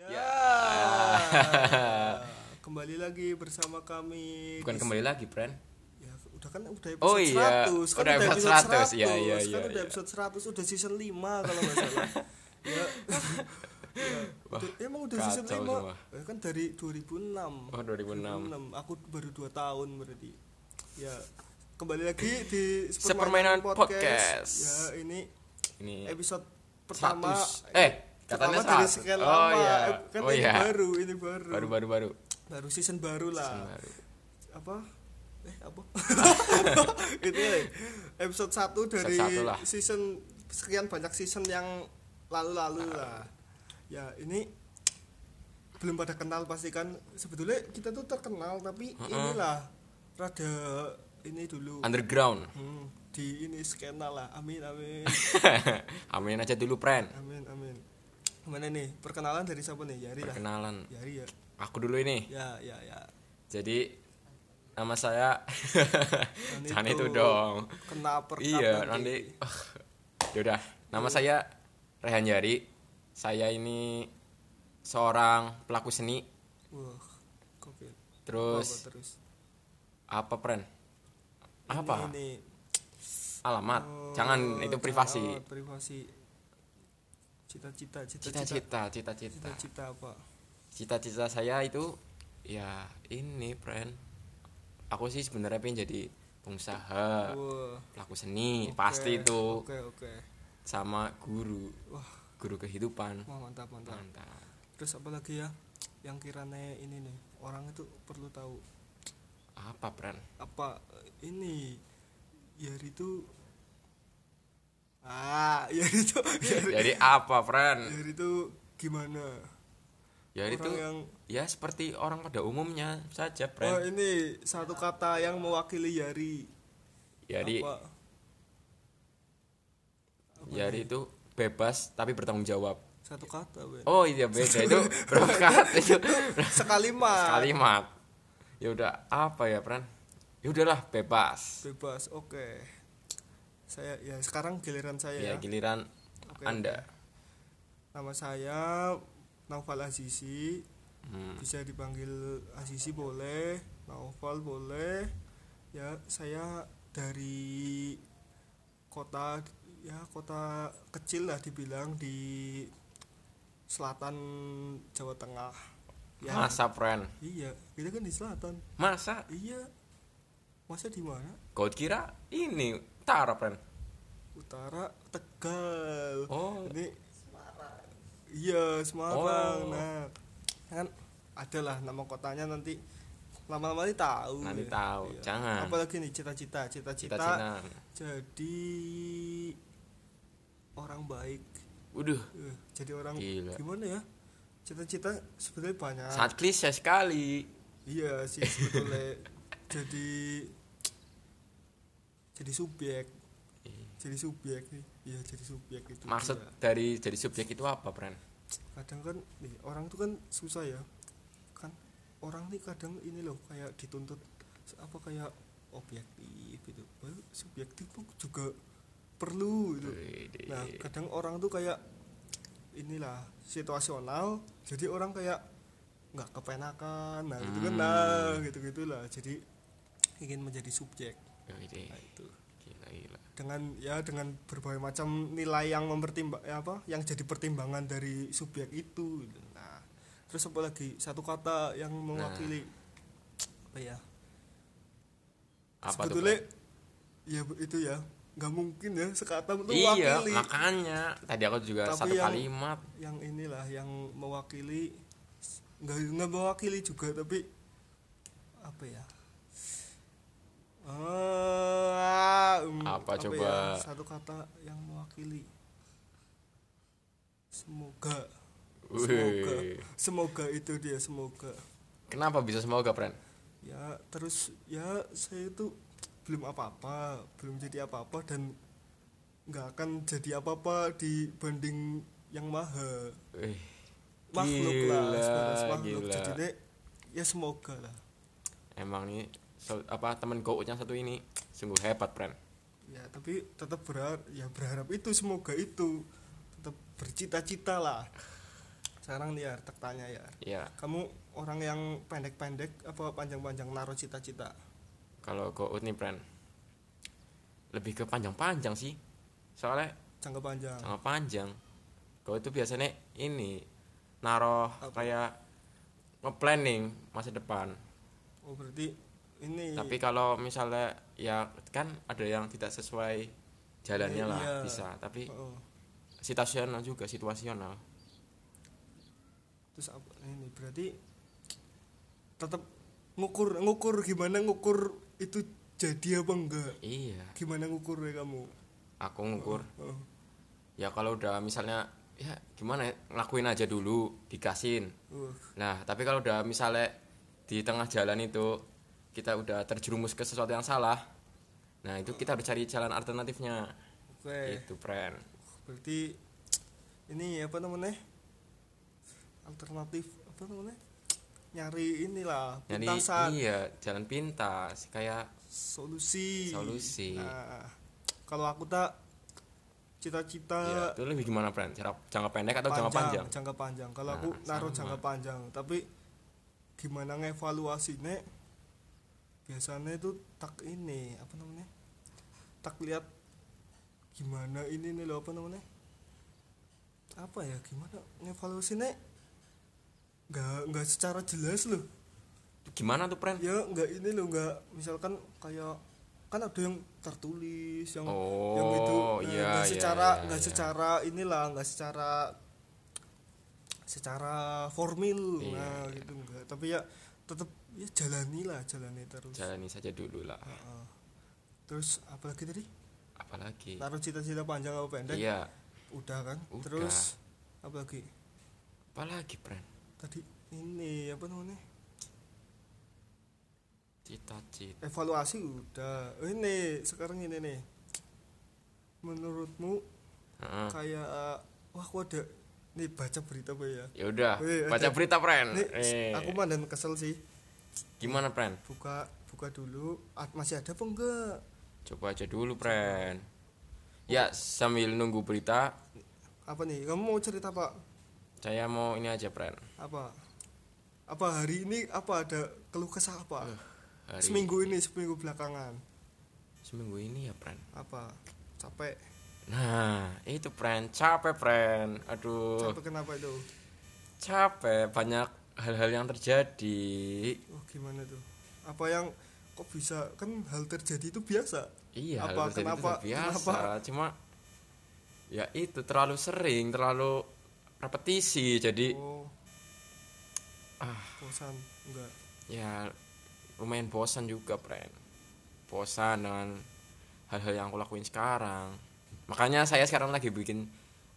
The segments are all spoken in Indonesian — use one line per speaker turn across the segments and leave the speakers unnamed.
Ya.
Ya.
kembali lagi bersama kami.
Bukan
di-
kembali lagi, friend.
Ya, udah kan udah episode
Oh iya,
100. Kan
udah episode 100, iya, iya,
Kan
iya,
udah
iya.
episode 100, udah season 5 kalau enggak salah. ya. ya. udah- emang udah season
kacau
5.
semua.
Ya, kan dari 2006.
Oh, 2006.
2006. Aku baru 2 tahun berarti. Ya, kembali lagi di
Sepermainan Podcast. Ya.
Ya, ini
Ini
episode pertama.
100. Eh, katanya
pertama dari
100.
sekian
Oh,
lama.
iya.
Eh, Kan
Oh,
ini
iya.
baru, Ah. ini baru.
baru baru baru.
Baru season baru lah
Baru.
apa eh apa itu ya, episode 1 dari
Episode satu lah.
season sekian banyak season yang lalu-lalu lah
Nah.
ya ini belum pada kenal pasti kan sebetulnya kita tuh terkenal tapi inilah rada ini dulu
Underground.
Hmm, di ini skena lah amin amin
Amin aja dulu, friend.
amin amin gimana nih perkenalan dari siapa nih Yari lah
Perkenalan.
Yari ya
Aku dulu ini.
ya ya ya
Jadi nama saya Jangan itu
itu.
dong.
kena perkap
Iya, nanti. Ah, Yaudah, nama saya Rehan Yari. Saya ini seorang pelaku seni.
wah gokil.
Terus
Apa terus
apa, friend?
ini,
Apa?
ini.
Alamat.
Oh,
Jangan
jangan,
itu privasi.
oh, privasi cita-cita cita-cita
Cita-cita, cita-cita.
cita-cita apa
cita-cita saya itu ya ini friend aku sih sebenarnya pengen jadi pengusaha
wah
pelaku
oke,
seni Iya. pasti itu
oke oke
sama guru
wah
guru kehidupan
wah mantap mantap
mantap
terus apa lagi ya yang kirane ini nih orang itu perlu tahu
apa friend
apa eh, ini Yari itu ah Yari itu Yari,
jadi apa friend
Yari itu gimana
ya itu
orang yang
ya seperti orang pada umumnya saja
oh
friend
ini satu kata yang mewakili Yari
jadi
iya. apa
jadi itu bebas tapi bertanggung jawab
satu kata Ben.
oh iya beda itu berapa kata itu
sekalimat
kalimat ya udah apa ya friend ya udahlah bebas
bebas oke saya ya sekarang giliran saya
Ya,
ya,
giliran
Oke,
Anda.
nama saya Naufal Azizi
Hmm.
bisa dipanggil Azizi boleh Naufal boleh ya saya dari kota ya kota kecil lah dibilang di selatan Jawa Tengah ya
Masa, friend?
iya kita kan di selatan
Masa?
iya masa di mana
Kau kira ini utara, friend?
Utara Tegal.
Oh.
Ini Iya, Semarang.
Oh.
Nah, kan adalah nama kotanya nanti lama-lama nanti tahu.
Nanti tahu,
Iya.
jangan.
Apalagi nih cita-cita, cita-cita
Cita-cita.
jadi orang baik.
Waduh,
Eh, Jadi orang
Gila.
gimana ya? Cita-cita sebetulnya banyak.
sangat klise sekali.
Iya sih sebetulnya jadi jadi subjek. Jadi subjek nih. Iya, jadi subjek itu.
Iya. Maksud
dia.
dari jadi subjek itu apa, friend?
kadang kan nih, orang tuh kan susah ya. Kan orang nih kadang ini loh kayak dituntut se- apa kayak objektif gitu. Well, subjektif tuh juga perlu gitu. Nah, kadang orang tuh kayak inilah situasional. Jadi orang kayak nggak kepenakan. Nah, gitu kan nah, gitu-gitulah. Jadi ingin menjadi subjek.
Wede.
Nah, itu
Gila, gila.
dengan ya dengan berbagai macam nilai yang mempertimbang ya apa yang jadi pertimbangan dari subjek itu gitu. nah terus apa lagi satu kata yang mewakili apa ya
Nah. Apa
sebetulnya
tuh?
ya bu- itu ya nggak mungkin ya sekata
friend?
itu
Iya,
mewakili
makanya tadi aku juga
Tapi
satu
yang-
kalimat.
yang inilah yang mewakili nggak nggak mewakili juga tapi apa ya Eh, um,
Apa coba?
ya? satu kata yang mewakili semoga semoga
Wih.
semoga itu dia semoga
Kenapa bisa semoga, friend?
ya terus ya saya itu belum apa-apa belum jadi apa-apa dan nggak akan jadi apa-apa dibanding yang maha
Wih.
makhluk lah
Gila,
sebatas makhluk
gila.
jadi dek, ya semoga lah
Emang nih so- apa temen coach yang satu ini sungguh hebat, friend.
ya tapi tetap berharap ya berharap itu semoga itu tetap bercita-cita lah sekarang nih ya tak tanya ya
ya
kamu orang yang pendek-pendek apa panjang-panjang naruh cita-cita
kalau gout nih pren lebih ke panjang-panjang sih soalnya
jangka panjang
sama panjang gout tuh biasanya ini naruh
Apa?
kayak nge-planning masa depan
oh berarti ini
tapi kalau misalnya ya kan ada yang tidak sesuai jalannya lah
Iya.
bisa tapi
Oh, oh.
situasional juga situasional
terus apa ini berarti tetap ngukur ngukur gimana ngukur itu jadi apa enggak
iya
gimana ngukurnya kamu
aku ngukur
Oh,
ya kalau udah misalnya ya gimana ya, ngelakuin aja dulu dikasihin
oh.
nah tapi kalau udah misalnya di tengah jalan itu kita udah terjerumus ke sesuatu yang salah nah itu kita harus cari jalan alternatifnya Gitu,
oke
itu friend
berarti ini apa namanya alternatif apa namanya nyari inilah
jadi
pintasan
iya jalan pintas kayak
solusi
Solusi.
Nah, kalau aku tak
ya,
cita-cita
itu lebih gimana friend Cara- jangka pendek atau jangka panjang
jangka Eh, panjang kalau aku
Nah,
naruh
sama.
jangka panjang tapi gimana ngevaluasinya biasanya itu tak ini apa namanya tak lihat gimana ini nih loh apa namanya apa ya gimana ngevaluasinya nggak nggak secara jelas loh
gimana tuh friend
ya nggak ini loh nggak misalkan kayak kan ada yang tertulis yang
Oh,
yang itu nah,
iya,
nggak
iya,
secara
iya,
nggak
iya.
secara inilah nggak secara secara formil
Iya,
nah
iya.
gitu enggak tapi ya tetap ya jalani lah jalani terus
jalani saja dulu lah
Heeh. terus apalagi tadi
apalagi
taruh cita-cita panjang atau pendek
iya
udah kan
Udah.
terus apalagi
apalagi friend
tadi ini apa namanya
cita-cita
evaluasi udah ini sekarang ini nih menurutmu
Heeh.
kayak wah aku ada nih baca berita apa ya
ya udah
Wih,
baca
ada-
berita friend
nih
Eh,
aku mandan kesel sih
gimana friend
buka buka dulu At- masih ada apa enggak
coba aja dulu friend ya sambil nunggu berita
apa nih kamu mau cerita pak
saya mau ini aja friend
apa apa hari ini apa ada keluh kesah apa
Eh, hari
seminggu ini seminggu belakangan
seminggu ini ya friend
apa capek
nah itu friend capek friend aduh
capek kenapa itu
capek banyak hal-hal yang terjadi
oh gimana tuh apa yang kok bisa kan hal terjadi itu biasa
iya
Apa,
hal terjadi itu
kenapa,
udah biasa
kenapa?
cuma ya itu terlalu sering terlalu repetisi jadi
oh
Ah.
bosan enggak
ya lumayan bosan juga friend bosan dengan hal-hal yang aku lakuin sekarang makanya saya sekarang lagi bikin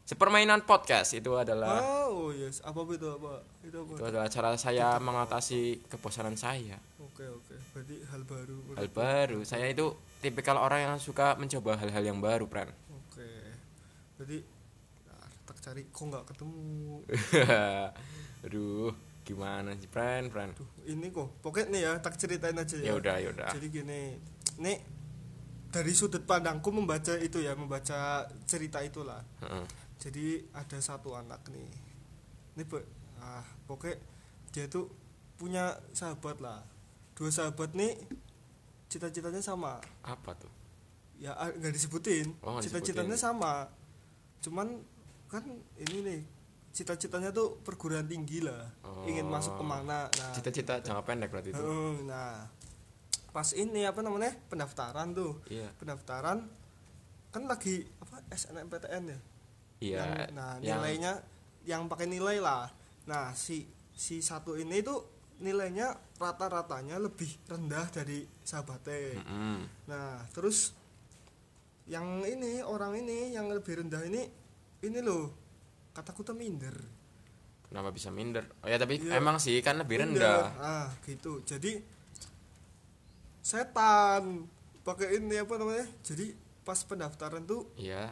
sepermainan podcast itu adalah
Oh yes, apa itu apa? Itu apa?
itu adalah cara saya mengatasi kebosanan saya
Oke oke, berarti hal baru.
hal baru saya itu tipikal orang yang suka mencoba hal-hal yang baru friend
Oke, berarti nah, tak cari kok nggak ketemu.
aduh gimana sih friend friend
Duh, ini kok pokoknya nih ya tak ceritain aja ya.
ya udah ya udah
Jadi gini, nih dari sudut pandangku membaca itu ya, membaca cerita itulah.
Heeh.
Jadi ada satu anak nih, ini be- ah pokoknya dia tuh punya sahabat lah. Dua sahabat nih cita-citanya sama.
apa tuh
ya ah, nggak disebutin
Oh, nggak
cita-citanya
disebutin.
sama cuman kan ini nih cita-citanya tuh perguruan tinggi lah
Oh.
ingin masuk kemana nah
cita-cita jangka pendek berarti itu
heeh, nah pas ini apa namanya pendaftaran tuh
iya
pendaftaran kan lagi apa SNMPTN ya
iya
yang, nah
yang-
nilainya yang pakai nilai lah nah si si satu ini tuh nilainya rata-ratanya lebih rendah dari sahabatnya
Mm-mm.
Nah, terus yang ini orang ini yang lebih rendah ini ini loh kataku tuh minder.
Kenapa bisa minder? Oh ya tapi
Iya.
emang sih kan lebih rendah.
Ah, gitu. Jadi setan pakai ini apa namanya? Jadi pas pendaftaran tuh
Iya.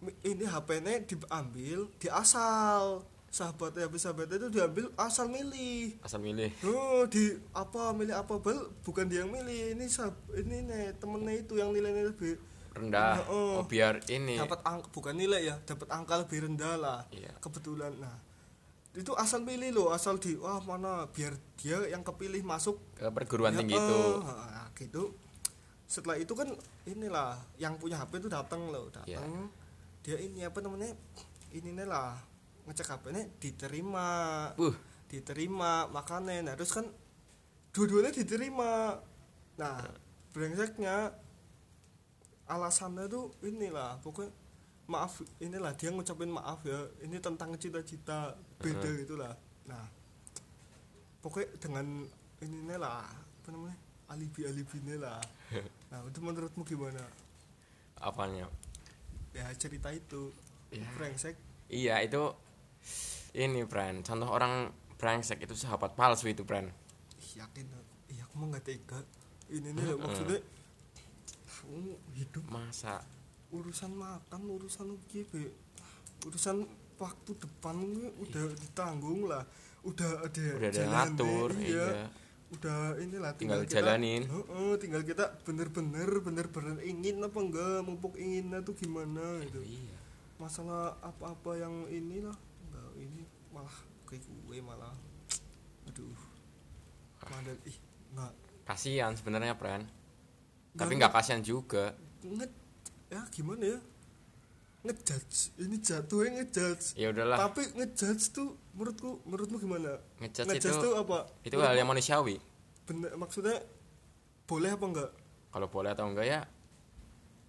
mi- ini HP-nya diambil, diasal. Sahabatnya habis sahabatnya itu diambil asal milih.
Asal milih.
Oh, di apa milih apa bel bukan dia yang milih ini sahab, ini nih temennya itu yang nilainya lebih
Rendah.
Oh.
Oh, biar ini.
dapat angka bukan nilai ya dapat angka lebih rendah lah
Iya.
kebetulan nah itu asal pilih loh asal di wah mana biar dia yang kepilih masuk
ke perguruan
Ya,
tinggi
eh,
itu
ah, gitu setelah itu kan inilah yang punya HP itu datang loh datang
Iya.
dia ini apa namanya ini nih lah ngecek HP-nya diterima
Wuh.
diterima makanya nah terus kan dua-duanya diterima nah brengseknya alasannya tuh inilah pokoknya maaf inilah dia ngucapin maaf ya ini tentang cita-cita beda gitulah nah pokoknya dengan ininya lah apa namanya alibi alibinya lah nah itu menurutmu gimana
apanya
ya cerita itu
Ya.
brengsek
iya itu ini Bran contoh orang brengsek itu sahabat palsu itu Bran
Ih, yakin aku Ih, aku mah nggak tega ini nih loh, maksudnya kamu hidup
masa
urusan makan urusan gini urusan waktu depan ini udah ditanggung lah udah ada
udah ada
jalannya,
ngatur
iya.
iya.
udah inilah
Tinggal
tinggal,
jalanin.
kita, Heeh, tinggal kita bener-bener bener-bener ingin apa enggak mumpuk inginnya tuh gimana gitu
iya
masalah apa-apa yang ini lah enggak ini malah kayak gue malah aduh mandek ih enggak
kasihan sebenarnya Bran tapi
Nggak-
nggak kasihan juga
nge ya gimana ya ngejudge ini jatuhnya ngejudge
ya udahlah
tapi ngejudge tuh menurutku menurutmu gimana
Ngejudge itu-
tuh apa
itu hal yang manusiawi
bener maksudnya boleh apa enggak
kalau boleh atau enggak ya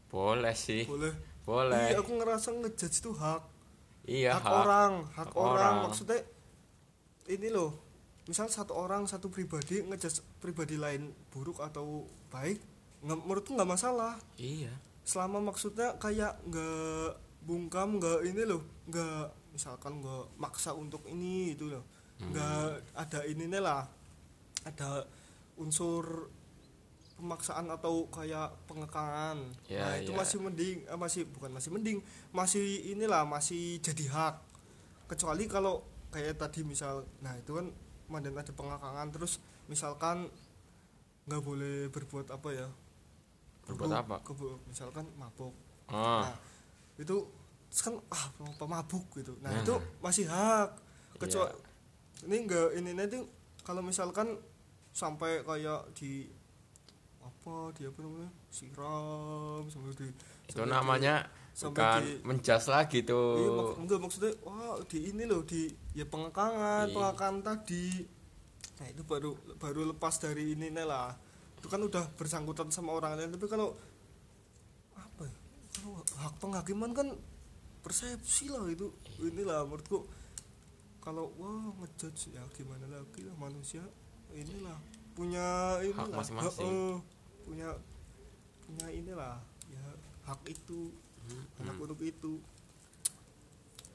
boleh sih
boleh Iya,
boleh
aku ngerasa ngejudge tuh hak,
iya
hak,
hak
orang, hak,
Hak
orang.
orang.
Maksudnya ini loh, misal satu orang satu pribadi ngejudge pribadi lain buruk atau baik, nggak, menurutku nggak masalah.
iya
Selama maksudnya kayak nggak bungkam, nggak ini loh, nggak misalkan nggak maksa untuk ini itu loh,
Hmm.
nggak ada ininya lah, ada unsur pemaksaan atau kayak pengekangan.
Ya,
nah, itu
ya.
masih mending eh, masih bukan masih mending, masih inilah masih jadi hak. Kecuali kalau kayak tadi misal nah itu kan mandan ada pengekangan terus misalkan nggak boleh berbuat apa ya?
Berbuat
Buruk,
apa?
kebo- misalkan mabuk.
ah
Nah, itu terus kan ah pemabuk gitu. Nah,
Nah.
itu masih hak. Kecuali
Iya.
ini enggak ini nanti kalau misalkan sampai kayak di apa dia apa namanya siram sampai di
itu
sampai di-
namanya
sampai
bukan
di-
menjas lagi
iya, mak-
tuh Hmm.
enggak maksudnya wah di ini loh di ya pengekangan
Iya.
pengekangan tadi nah itu baru baru lepas dari ini nih lah itu kan udah bersangkutan sama orang lain tapi kalau apa ya kalau hak penghakiman kan persepsi lah itu inilah menurutku kalau wah ngejudge ya gimana lagi lah manusia inilah punya ini
Hak masing-masing.
punya punya inilah ya hak itu
Hmm.
anak urut itu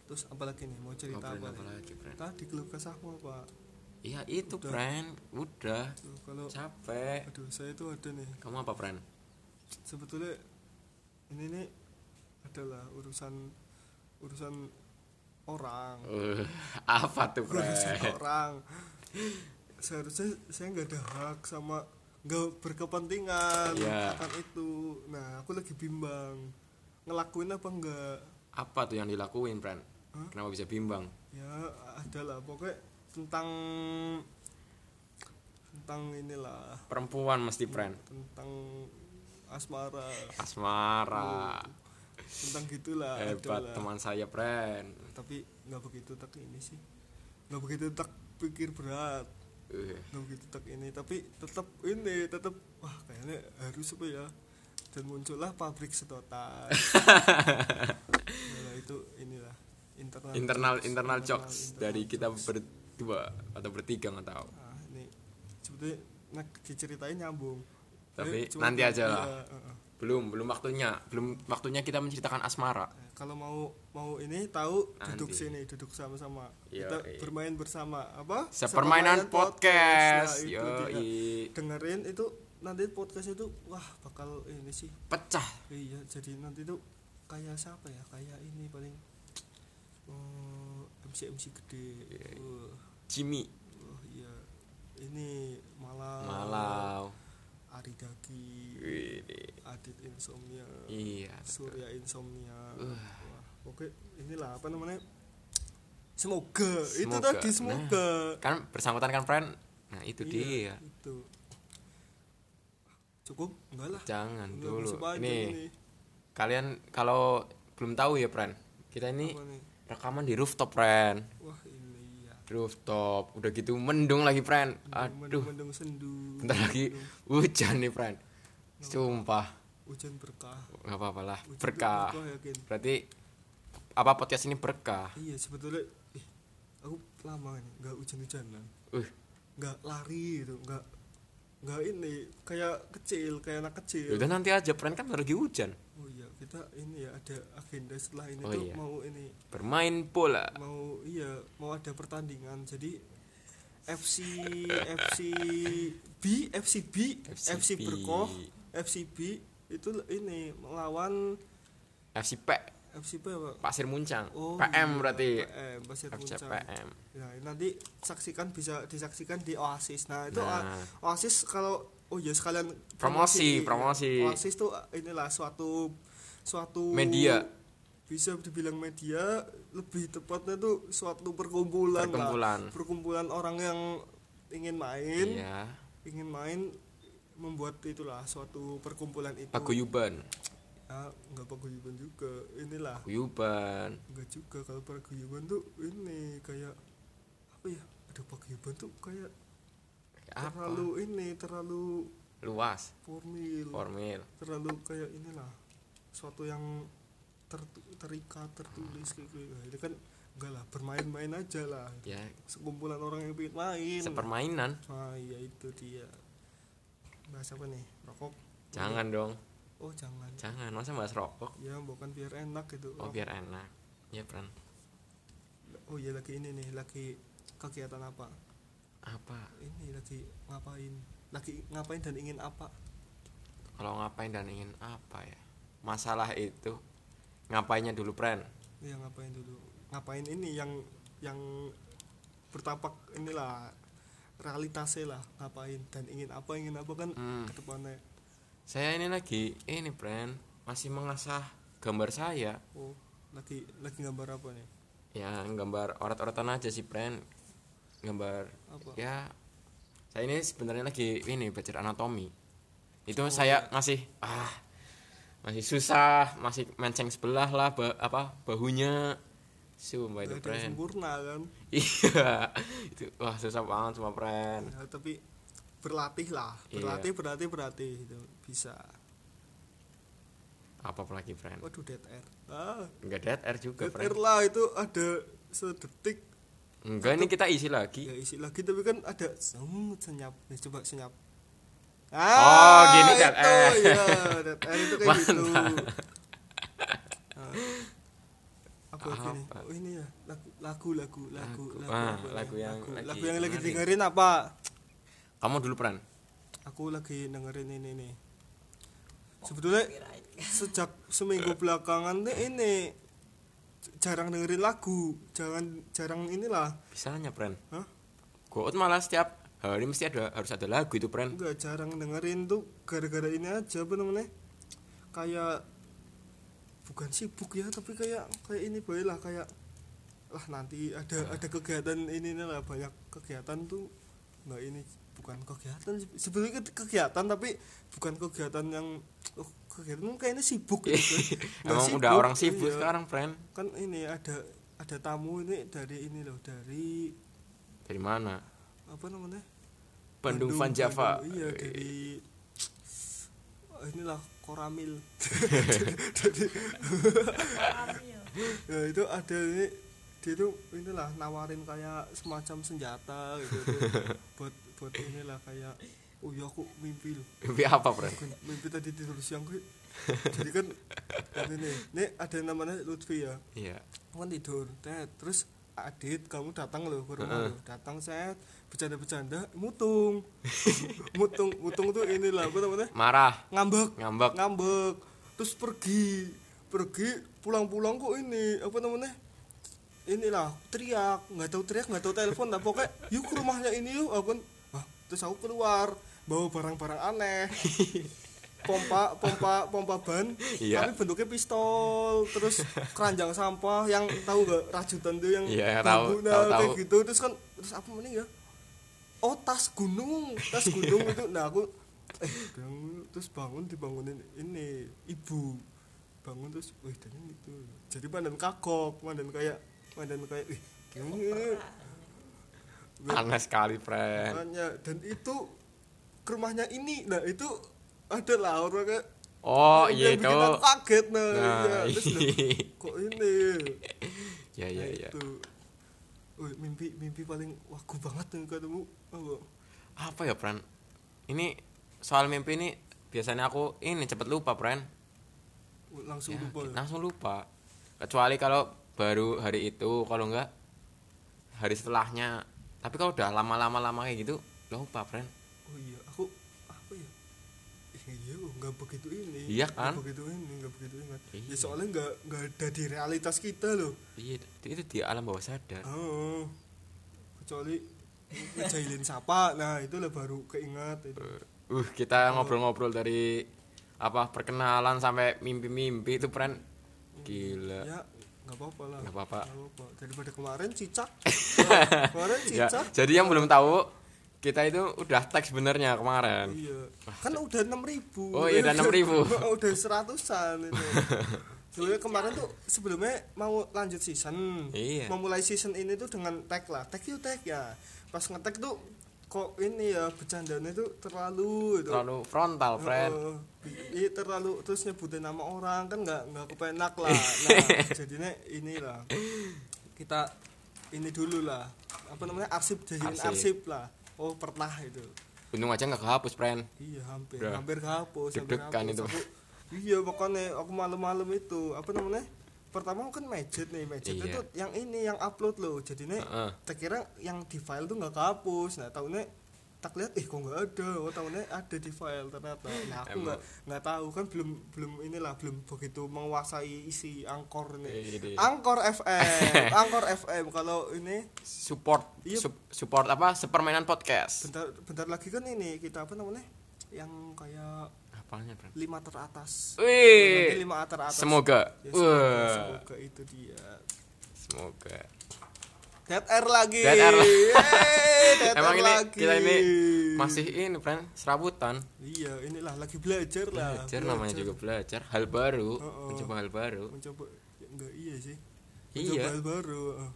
terus apalagi nih mau cerita
Apa, Bren?
apa,
Apa
nih?
lagi, Bren?
tadi keluh kesahmu apa
iya itu
Udah.
Bran udah
Tuh, kalau
capek
aduh saya tuh ada nih
kamu apa Bran
sebetulnya ini nih adalah urusan urusan orang
Eh, apa tuh Bran
urusan orang seharusnya saya nggak ada hak sama nggak berkepentingan
Iya.
akan itu nah aku lagi bimbang ngelakuin apa enggak
apa tuh yang dilakuin Bran
Hah?
kenapa bisa bimbang
ya adalah pokoknya tentang tentang inilah
perempuan mesti Bran
tentang asmara
asmara
tentang gitulah
hebat
adalah.
teman saya Bran
tapi nggak begitu tak ini sih nggak begitu tak pikir berat
Eh,
nggak begitu tak ini tapi tetap ini tetap wah kayaknya harus apa ya dan muncullah pabrik sedotan nah, itu inilah internal
internal
jokes,
internal jokes
internal
dari kita
jokes.
berdua atau bertiga nggak tahu
Nah, ini sebetulnya nak diceritain nyambung.
Tapi
Cuma
nanti
biar-
aja lah.
iya, heeh.
belum belum waktunya belum waktunya kita menceritakan asmara
Eh, Kalau mau mau ini tahu duduk
Nanti.
sini, duduk sama-sama.
Iya,
Kita
iya.
bermain bersama apa? Sepermainan
sepermainan podcast
Nah, itu
yo
dia. Dengerin itu nanti podcast itu wah bakal ini sih.
pecah
Iya, jadi nanti tuh kayak siapa ya? Kayak ini paling eh, MC MC gede.
Iya, iya.
Wah,
Jimmy
wah, iya. Ini malam.
malau
Ari Daki,
Wih,
Adit Insomnia,
iya betul.
Surya Insomnia.
Uh.
Wah, oke, inilah apa namanya? semoga, itu
Semoga.
tadi
Nah,
semoga
kan bersangkutan kan friend nah itu
Iya,
dia
itu cukup enggak lah
jangan
Enggak,
dulu
masih panjang
ini kalian kalau belum tahu ya friend kita ini
Apa nih?
rekaman di rooftop friend
wah ini ya
rooftop udah gitu mendung lagi friend aduh
mendung sendu
bentar lagi hujan nih friend sumpah
hujan berkah
nggak apa-apa lah
Hujan
berkah
ya, Ken.
berarti apa podcast ini berkah
iya sebetulnya eh, aku lama kan nggak hujan-hujanan
uh
nggak lari gitu nggak nggak ini kayak kecil kayak anak kecil
Ya udah nanti aja friend kan baru lagi hujan
oh iya kita ini ya ada agenda setelah ini
Oh
tuh
iya.
mau ini
bermain bola
mau iya mau ada pertandingan jadi FC FC B FC B
FC
FC,
B.
Berkoh FC B itu ini melawan
FCP
FC B apa?
Pasir Muncang
Oh,
PM
iya,
berarti
PM Basir Puncak.
FCPM
Nah, nanti saksikan bisa disaksikan di Oasis. Nah, itu
Nah.
O- Oasis kalau oh ya sekalian
Promosi, promosi.
Oasis tuh eh, inilah suatu suatu
Media.
bisa dibilang media lebih tepatnya tuh suatu perkumpulan
Perkumpulan.
lah. perkumpulan orang yang ingin main
iya
ingin main membuat itulah suatu perkumpulan itu
paguyuban
ya nggak paguyuban juga inilah
paguyuban
Enggak juga kalau paguyuban tuh ini kayak apa ya? Aduh paguyuban tuh kayak terlalu
apa
ini terlalu
luas
formil,
formil
terlalu kayak inilah suatu yang tertu- terikat tertulis kayak gitu. Nah, Ini kan enggak lah bermain-main aja lah.
ya
Sekumpulan orang yang pengen main.
sepermainan
Nah, ya itu dia. Bahas apa nih? Rokok?
jangan dong
Oh, jangan.
jangan masa bahas rokok
Ya, bukan biar enak gitu.
oh biar enak ya friend
Oh, iya lagi ini nih, lagi kegiatan apa?
apa
ini lagi ngapain lagi ngapain dan ingin apa
kalau ngapain dan ingin apa ya masalah itu ngapainnya dulu friend
ya ngapain dulu ngapain ini yang yang bertapak inilah realitasnya lah ngapain dan ingin apa ingin apa kan
Hmm.
ke depannya
saya ini lagi eh, ini friend masih mengasah gambar saya
oh lagi lagi gambar apa nih
ya gambar orat-oratan aja sih friend gambar
apa
ya saya ini sebenarnya lagi ini belajar anatomi itu
Oh, iya.
saya masih ah masih susah masih menceng sebelah lah ba- apa bahunya sumpah
Nggak ada
itu
yang
friend
sempurna kan
iya itu wah susah banget cuma friend
Ya, tapi berlatih lah
Iya.
berlatih berlatih berlatih itu bisa
apa lagi friend
waduh dead air ah
enggak dead air
dead
juga
air
friend
lah itu ada sedetik
enggak ini kita isi lagi
ya isi lagi tapi kan ada seng, senyap Nih, coba senyap Ah,
Oh, gini, Dad.
itu
Eh.
ya Dad. Eh, itu kayak gitu
Mantap.
Nah, apa gini
Apa?
oh, ini ya lagu lagu lagu lagu
Lagu.
lagu,
Ah,
apa
lagu
ya?
yang
lagu,
lagi
lagu yang lagi
dengerin.
dengerin apa
kamu dulu friend
aku lagi dengerin ini nih sebetulnya sejak seminggu belakangan nih ini jarang dengerin lagu jangan jarang inilah
bisanya friend
Hah?
Goat malah setiap hari mesti ada harus ada lagu itu friend
Enggak jarang dengerin tuh gara-gara ini aja apa namanya? Kayak bukan sibuk ya, tapi kayak kayak ini boy lah kayak lah nanti ada ada kegiatan ini nih lah banyak kegiatan tuh nggak ini bukan kegiatan sih. sebenarnya ke- kegiatan tapi bukan kegiatan yang oh, kegiatan kayaknya sibuk gitu Nggak
emang udah orang sibuk
iya.
sekarang friend
kan ini ada ada tamu ini dari ini loh dari
dari mana
apa namanya
Bandung Van Java
Bandung, iya dari Ah, inilah Koramil. Dari- Ya, itu ada ini dia tuh inilah nawarin kayak semacam senjata gitu tuh. buat buat inilah kayak oh ya aku mimpi loh
Mimpi apa, Pren?
Aku mimpi tadi tidur siang gue jadi kan ini nih ini ada yang namanya Lutfi ya
Iya.
aku kan tidur Tet. terus Adit kamu datang loh ke rumah
Heeh.
loh. datang set bercanda-bercanda mutung mutung mutung tuh inilah apa namanya
Marah,
ngambek
ngambek.
ngambek terus pergi pergi pulang-pulang kok ini apa namanya inilah teriak nggak tahu teriak nggak tahu telepon lah pokoknya yuk ke rumahnya ini yuk aku kan, "Hah?" terus aku keluar bawa barang-barang aneh pompa pompa pompa ban
Iya.
tapi bentuknya pistol terus keranjang sampah yang tahu nggak rajutan tuh yang
Iya,
bambu,
tahu, tahu,
kayak
tahu.
gitu terus kan terus apa mending ya oh tas gunung tas
Iya.
gunung itu nah aku eh bangun terus bangun dibangunin ini ibu bangun terus wih dan itu jadi mandan kagok mandan kayak mandan kayak wih gini
Panas sekali, friend.
Makanya, dan itu ke rumahnya ini nah itu ada lah orang kayak
Oh,
yang
iya
bikin
itu.
aku kaget nah, iya.
Nah,
terus loh, kok ini
iya iya
Nah,
iya.
itu Wih, mimpi mimpi paling wagu banget nih ketemu apa
Apa ya, friend? Ini soal mimpi ini biasanya aku ini cepet lupa, friend.
langsung
Ya,
lupa
kita
ya.
langsung lupa. Kecuali kalau baru hari itu, kalau enggak hari setelahnya. Tapi kalau udah lama-lama lama kayak gitu, lupa, friend.
oh iya aku apa ya iya nggak begitu ini
Iya kan?
nggak begitu ini nggak begitu ingat
Iya.
ya soalnya nggak nggak ada di realitas kita loh
Iya, itu di alam bawah sadar.
Oh, kecuali ngejailin sapa, nah itulah baru keingat itu.
Uh, kita ngobrol-ngobrol dari apa perkenalan sampai mimpi-mimpi itu friend. Gila.
Ya, nggak apa-apa lah.
Nggak apa-apa.
Nggak apa-apa. Daripada kemarin cicak. Nah, kemarin
Ya,
cicak.
jadi yang belum tahu kita itu udah teks sebenarnya kemarin.
Iya. Kan udah 6000.
Oh, iya, udah 6.000.
udah seratusan itu. Sebenarnya kemarin tuh sebelumnya mau lanjut season.
Iya.
Memulai season ini tuh dengan tag lah. Tag yuk tag ya. Pas ngetek tuh kok ini ya bercandanya tuh terlalu itu.
Terlalu frontal, friend.
Heeh. Iya, terlalu terus nyebutin nama orang kan nggak nggak kepenak lah. Nah, jadinya inilah kita ini dulu lah. Apa namanya arsip jadiin
Arsip.
arsip, lah. Oh pernah itu.
Untung aja nggak kehapus, friend.
Iya hampir
Udah.
hampir kehapus. hampir
Deg-degan
kehapus.
itu.
Aku- iya pokoknya aku malam-malam itu apa namanya pertama kan Magic nih Magic
Iya.
itu yang ini yang upload loh jadinya
Heeh.
tak kira yang di file tuh nggak kehapus nah tahunya tak lihat eh kok nggak ada oh tahunya ada di file ternyata nah aku
Emang.
nggak nggak tahu kan belum belum inilah belum begitu menguasai isi angkor
Iya, iya.
nih angkor fm angkor fm kalau ini
Support
Iya.
sup- support apa? Sepermainan podcast.
bentar bentar lagi kan ini kita apa namanya yang kayak
Apanya, friend?
lima teratas
Wih.
Nanti lima teratas
Semoga.
Ya, semoga,
Wah,
semoga itu dia
semoga.
Dead air lagi.
Dead air.
Yeay, dead
Emang
air
ini
lagi.
kita ini masih ini, friend, serabutan.
Iya, inilah lagi belajar lah.
Belajar namanya juga belajar, hal baru,
Heeh.
mencoba hal baru.
Mencoba ya, enggak iya sih.
Iya.
Mencoba hal baru. heeh.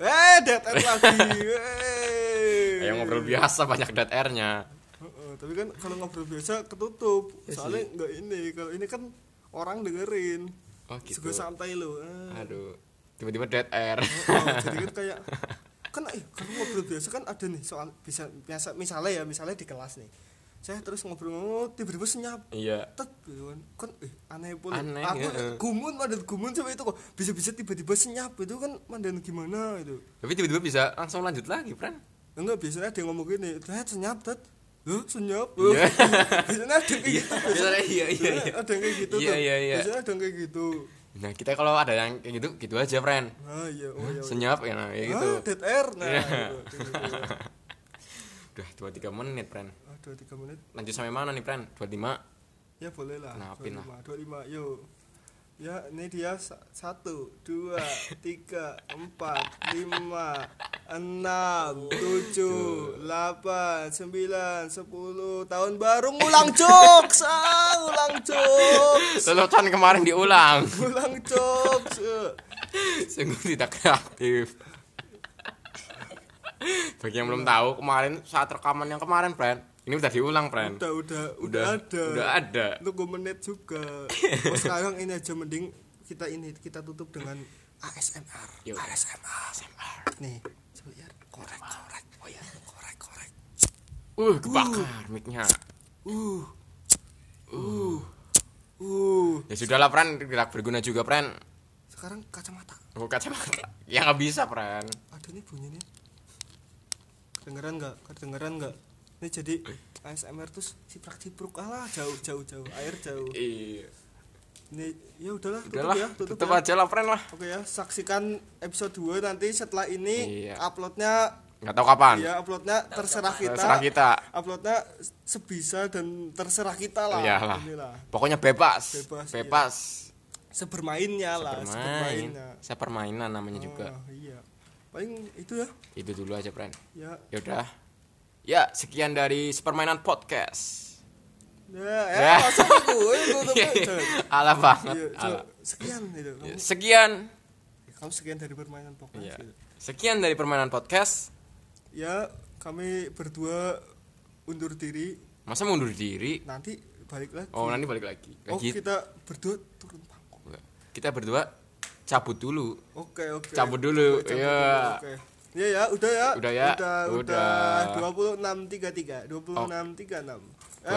Eh, dead air lagi. Yeay.
Yang ngobrol biasa banyak dead airnya.
Heeh, tapi kan kalau ngobrol biasa ketutup.
Iya sih.
Soalnya enggak ini. Kalau ini kan orang dengerin.
Oh gitu.
Juga santai loh. Eh.
Aduh, tiba-tiba dead air.
Oh, jadi kan kayak kan eh kalau ngobrol biasa kan ada nih soal bisa biasa misalnya ya misalnya di kelas nih saya terus ngobrol oh, tiba-tiba senyap
Iya.
tet gitu kan kan eh aneh pula
Aneh,
aku
heeh.
gumun mandan gumun sampai itu kok bisa-bisa tiba-tiba senyap itu kan mandan gimana itu
Tapi tiba-tiba bisa langsung lanjut lagi, Pran.
enggak biasanya dia ngomong gini tet senyap tet Loh, senyap
Iya.
biasanya ada yang kayak gitu biasanya,
Biasanya iya iya iya.
ada yang kayak gitu
Iya,
tuh.
iya, iya.
biasanya ada yang kayak gitu
Nah, kita kalau ada yang kayak gitu, gitu aja, Pran.
ah iya oh iya
Senyap ya nah,
Ah,
kayak gitu.
dead air nah
Iya.
gitu, gitu, gitu.
Udah 23 menit, Pran.
Ah, dua tiga menit
Lanjut sampai mana nih, Pran? 25.
Ya boleh lah.
Kenapin lah.
25, 25, yuk. Ya, ini dia sa- satu, dua, tiga, empat, lima, enam,
Oh.
tujuh, delapan, sembilan, sepuluh. Tahun baru ngulang jokes, ah, ngulang jokes,
Lelucon kemarin diulang.
ngulang jokes. eh.
Sungguh tidak kreatif. Bagi yang belum tahu, kemarin saat rekaman yang kemarin, Pran. Ini udah diulang, Pran.
Udah, udah, udah, ada.
Udah ada.
Tunggu menit juga. Oh, sekarang ini aja mending kita ini kita tutup dengan ASMR.
Yuk.
ASMR.
ASMR.
Nih, coba ya. Korek, korek. Oh ya, korek, korek.
Uh, kebakar mic-nya.
Uh. Uh. Uh.
Ya sudahlah, Pran, tidak berguna juga, Pran.
Sekarang kacamata.
Aku kacamata. Ya nggak bisa, Pran.
Ada nih bunyinya. Kedengeran nggak? Kedengeran nggak? Ini jadi ASMR terus ciprak cipruk alah jauh jauh jauh air jauh.
Iya.
Ini ya udahlah tutup
Udahlah,
ya,
tutup,
tutup, ya.
aja lah, Pran lah.
Oke ya, saksikan episode 2 nanti setelah ini
Iya.
uploadnya
nggak tahu kapan
ya uploadnya terserah kita,
terserah kita
uploadnya sebisa dan terserah kita lah
Iyalah.
Inilah.
pokoknya bebas
Bebas, iya.
bebas
sebermainnya lah
bermain
sebermainnya
saya permainan namanya juga
Ah, iya paling itu ya
itu dulu aja friend
ya
yaudah ya sekian dari permainan podcast
ya,
Ya.
ya. masuk aku eh, tutup, tutup.
ala banget
Iya,
Iya, ala.
coba. sekian itu kamu,
sekian
kamu sekian dari permainan Pokemon
Iya.
gitu.
sekian dari permainan podcast
ya kami berdua undur diri
masa mundur diri
nanti balik lagi
oh nanti balik lagi
Oh,
lagi
kita berdua turun panggung
kita berdua cabut dulu
oke oke
Cabut dulu,
Oke, cabut
iya.
dulu, oke. Iya ya, udah ya.
Udah ya,
Udah,
udah.
udah. 2633, 2636.
Oh.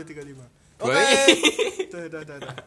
35.
Dua-
Eh, Oke. Udah, udah, udah, udah.